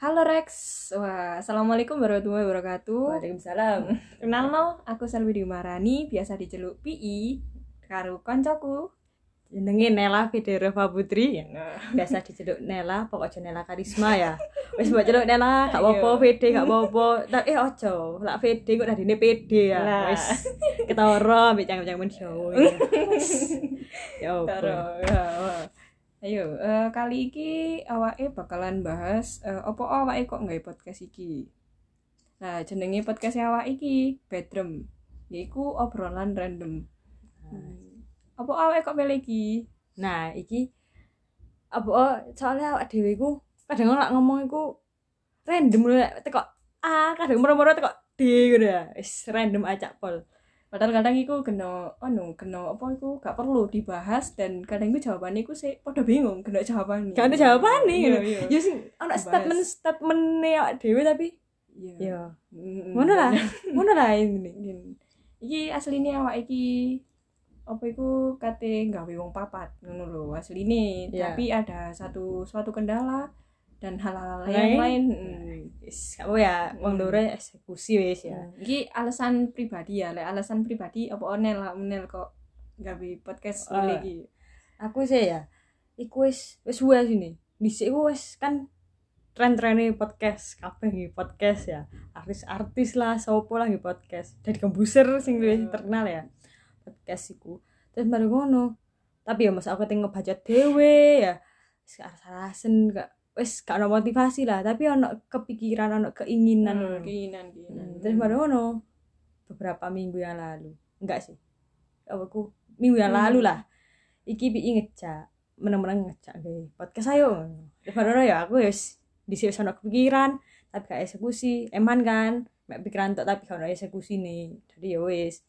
Halo Rex, wah, assalamualaikum warahmatullahi wabarakatuh. Waalaikumsalam. Kenal no, aku Selvi Dwi Marani, biasa diceluk PI, karo koncoku. Jenenge Nela Federova Putri. Biasa diceluk Nela, pokoknya Nela Karisma ya. Wis buat celuk Nela, Iya. gak apa-apa Ayo. VD gak apa-apa. Tapi eh ojo, lak VD kok dadine PD ya. Lah. Wis ketara mbek cangkem-cangkem Jawa. ya. Ya apa. Karo, ya, wah. Ayo, eh, kali iki awake bakalan bahas eh, opo awake kok nggawe podcast iki. Nah, jenenge podcast awake iki Bedroom, yaiku obrolan random. Hmm. Apa awake kok milih iki? Nah, iki apa oh, soalnya awak dhewe iku kadang lak ngomong iku random lho lak, teko A, kadang moro-moro teko D ngono ya. Wis random acak pol. Padahal kadang iku kena anu, kena apa iku gak perlu dibahas dan kadang iku jawabane iku sik padha bingung kena jawabane. Gak ada jawabane Iya, ngono. iya. Ya sing ana Bahas. statement-statement awak dhewe tapi Iya. ya Mm, ngono lah ngono lah ini Ngin. Iki asline awak iki apa iku kate nggawe wong papat ngono lho asline. Iya. Tapi ada satu suatu kendala dan hal-hal Lain. yang lain. Mm. Wis, gak apa ya Hmm. wong loro eksekusi wis ya Mm. Iki alasan pribadi ya, lek alasan pribadi apa onel lah onel kok nggawe podcast Eh. ngene iki. aku sih ya iku wis wis wae sini dhisik iku wis kan tren-trene podcast kabeh nggih podcast ya artis-artis lah sopo lah nggih podcast dari kombuser sing Eh. luwih terkenal ya podcast iku terus baru ngono tapi ya mas aku tinggal baca dewe ya wis gak rasen gak wis gak ada motivasi lah tapi ono kepikiran ono keinginan Hmm, ngono. keinginan keinginan. Hmm, Terus baru ngono beberapa minggu yang lalu. Enggak sih. Apa ku minggu yang Hmm. lalu lah. Iki bi ngejak, meneng-meneng ngejak gue. Podcast ayo. Terus baru ngono ya aku wis dhisik sono kepikiran, tapi gak eksekusi. Eman kan, mek pikiran tok tapi gak ono eksekusi nih. Jadi ya wis.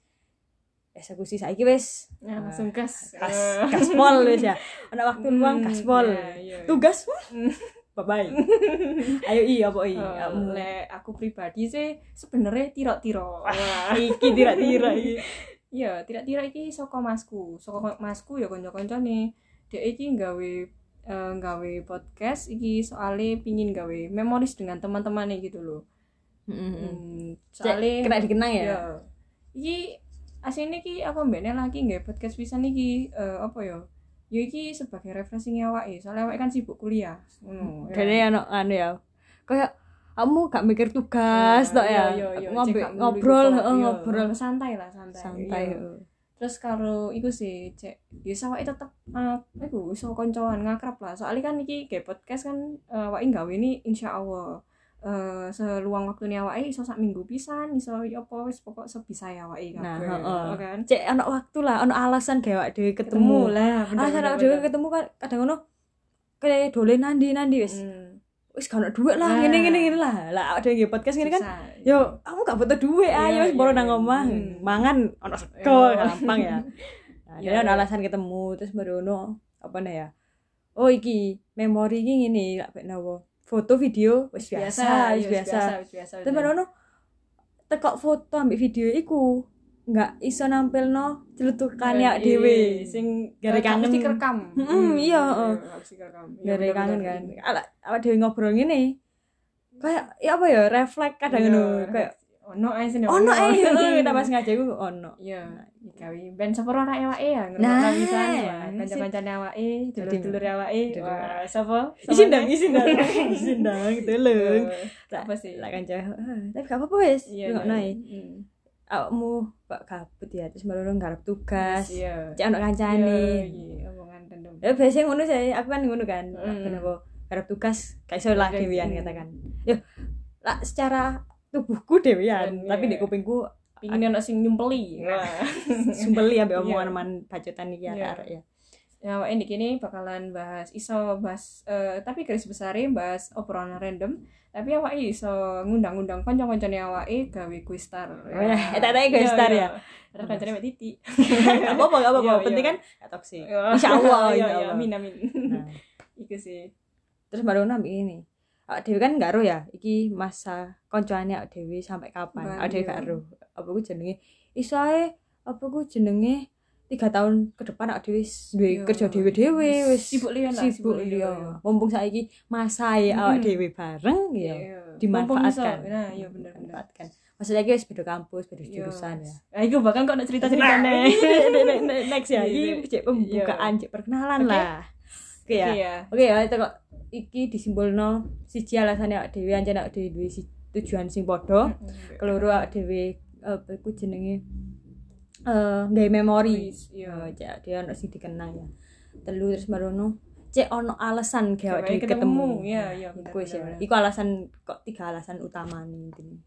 Eksekusi saiki wis. Nah, langsung gas. Kas Eh. gaspol wis ya. Ono waktu Hmm, luang gaspol. iya, iya, iya. Tugas. Hmm. Bye bye. Ayo iya apa iya. Eh, kamu. lek aku pribadi sih sebenarnya tiro-tiro. Iki tira-tira iki. Iya, tidak tira iki saka masku. Saka masku ya kanca-kancane. Dek iki nggawe eh, nggawe podcast iki soalnya pingin gawe memoris dengan teman-temannya gitu loh. Heeh. Hmm, Soalnya soalnya kena dikenang ya. Iya. Iki asine iki aku mbene lagi nggak podcast pisan iki eh, apa ya? Ya iki sebagai refreshing awake. Soalnya awake kan sibuk kuliah. Ngono. Dene ya no, anu ya. Kayak kamu gak mikir tugas Iya, tok ya. Ngob- ngobrol, heeh, ngobrol santai lah, gitu, Iya. santai. santai. oh. Iya. heeh. terus kalau iku sih cek ya sama itu tetep uh, iku iso koncoan ngakrab lah soalnya kan iki kayak podcast kan uh, wae gawe ini insya allah eh seluang waktu nih awake iso sak minggu pisan iso ya apa wis pokok sebisa ya awake Nah, kabeh, heeh. ya kan Cek ana waktu lah, ana alasan dewek dhewe ketemu. lah ah, Alasan awak dhewe ketemu Mm. kan kadang ngono kayak dolen nandi nandi wis. Hmm, Wis gak ono duit lah, Nah. ngene ngene ngene lah. Lah awak dhewe nge podcast ngene kan. Yo, aku gak butuh duit Iya, ayo wis iya, boro nang iya. omah. Hmm. Mangan ono sego Iya. gampang ya. Nah, Iya, dia ada iya. alasan ketemu terus baru ono apa nih ya? Oh iki memori iki ngene lak pek nopo. Foto video wis biasa, wis biasa. wis biasa Terus baru ono tekok foto ambil video iku nggak iso nampilno celutukan Iya, ya dhewe sing gara kangen direkam Mm-mm, iya, heeh. harus direkam Hmm, Iya, gara bener-bener. kangen kan. Ala awak dhewe ngobrol ngene. Kayak ya apa ya refleks kadang Iya, ngono kayak ono ae sini, ono eh Heeh. kita pas ngaji iku ono. Iya, gawe ben sapa ora awake ya, ngerti Nah, nah, pisan wah, sip. kanca-kancane awake, dulur-dulur awake. Dulur. Wah, sapa? Izin dong, izin dong. Izin dong, tolong. Apa sih? Lah kan cewek, "Ah, tapi gak apa-apa wis. Iya, Ngono ae. Awakmu kok kabut ya terus baru Gas. ngarep tugas. Iya. Cek ono Iya, kancane. iya, omongan tendem. Ya biasanya ngono sih, aku kan ngono kan. Mm. Kenapa ngarep tugas gak iso lah Iya, dewean mm. katakan. Yo, lah secara tubuhku Iya. dewean, tapi di kupingku Pingin ono sing nyumpeli. Nah. Wah. sumpeli ambek Iya. omongan man bacotan iki Iya. arek-arek ya. Ya, awake ndek kene bakalan bahas iso bahas eh, tapi garis besare bahas obrolan random, tapi awake ya iso ngundang-undang kanca-kancane awake gawe quiz star. ya. Iya, Wah, etak-etake quiz star ya. Terus kancane Mbak Titi. Gak apa-apa, gak apa-apa. Iya, iya. Penting kan gak toksik. Iya. Insyaallah, Iya, iya, insyaallah. amin amin. Nah. Iku sih. terus baru nambah ini awak dewi kan gak ero ya iki masa koncoane awak dewi sampai Bali, kapan awak dewi ya. gak ero apa ku jenenge iso ae apa ku jenenge tiga tahun ke depan aku dhewe wis duwe Iya. kerja dhewe-dhewe wis Sibuk liyan lah, sibuk sibuk liyan, iya. liya mumpung saiki masae Mm-mm. awak dhewe bareng ya Iya. Mumpung iso. dimanfaatkan Nah, iya bener-bener. dimanfaatkan maksudnya iki wis beda kampus beda Iya. jurusan ya Ah, iku bahkan kok nak cerita-cerita Nah, nih. ini- ini- ini next ya Iya, ini cek pembukaan cek perkenalan Oke. lah oke ya Iya. Oke ya, itu kok iki disimbolno siji alasane awak dhewe ancen awak dhewe duwe si- tujuan sing Hmm. padha, keloro awak dhewe apa iku jenenge eh gawe memori. Iya. Ya, cek dia ono sing dikenang ya. Telu terus marono cek ono alasan gawe awak Gawe dhewe ketemu. ketemu. Iya, iya, Iku wis ya. bener-bener. Iku alasan kok tiga alasan utama nih intine.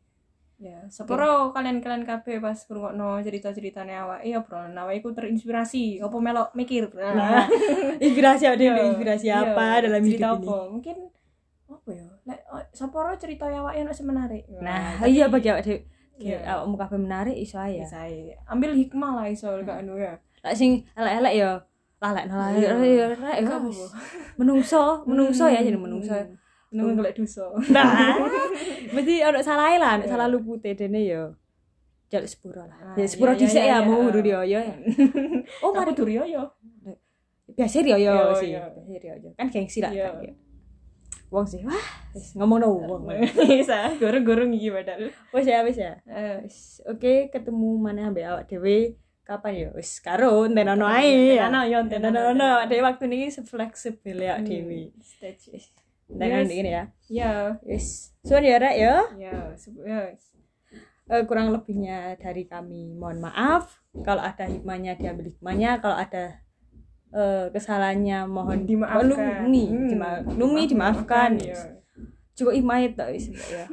Ya, sepuro kalian-kalian kabeh pas ngrungokno cerita-ceritane awake ya bro, awake ku terinspirasi apa melok mikir. Nah, inspirasi awak dhewe Ah. Iya, inspirasi iya. apa dalam cerita hidup apa? ini? Mungkin apa ya? Nek oh, sepuro cerita awake ono sing menarik. Nah, tapi- iya bagi awak dhewe Iya. awakmu kabeh menarik iso ae ya. Nah. Bisa ae. Ambil hikmah lah iso gak anu ya. lek sing elek-elek ya lalek lalek Iya. ya rek ya Apa, wis. Bu? menungso menungso Hmm, ya jadi menungso Nunggu golek dosa. nah mesti ono salah lah Iya. ono salah lupute dene ya jaluk Ah, sepuro lah ya sepuro iya, iya, dhisik ya iya, mau iya. nguru dia ya ya. Aku oh ya. mari duri yo. biasa dia ya Iya, sih iya. biasa dia ya kan gengsi lah Iya. kan ya. wong sih wah wis ngomong no Oh, wong Iya. Bisa ah, gorong-gorong iki padahal. wis ya wis ya Eh, Wis, oke ketemu mana ambek awak dhewe kapan ya wis karo tenono ae ya. Tenono, Nah, yo, tenono, tenono tenono. awak dhewe waktu niki fleksibel ya awak dhewe stage. dengan Hmm. Yes. ini ya Hmm, Ya, Yes. Suara ya, Rek, ya. ya, sep- ya. Eh, kurang lebihnya dari kami mohon maaf. Kalau ada hikmahnya diambil hikmahnya, kalau ada eh, kesalahannya mohon dimaafkan. Maklumi, Hmm. dimaklumi, dimaafkan. ya. Cukup hikmah itu wis ya.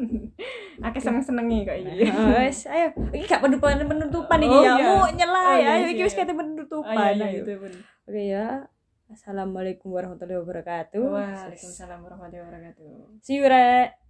Aku seneng-senengi kok iki. Nah, wis, ayo. Iki gak penutupan penutupan iki Iya. Oh, ya. iya. Mu nyela Oh, iya ya. Ayo sih, iki wis iya. kate Ah, penutupan. iya, iya, ayo. itu bener. Oke ya. Assalamualaikum warahmatullahi wabarakatuh. Waalaikumsalam warahmatullahi wabarakatuh. See you, Rek.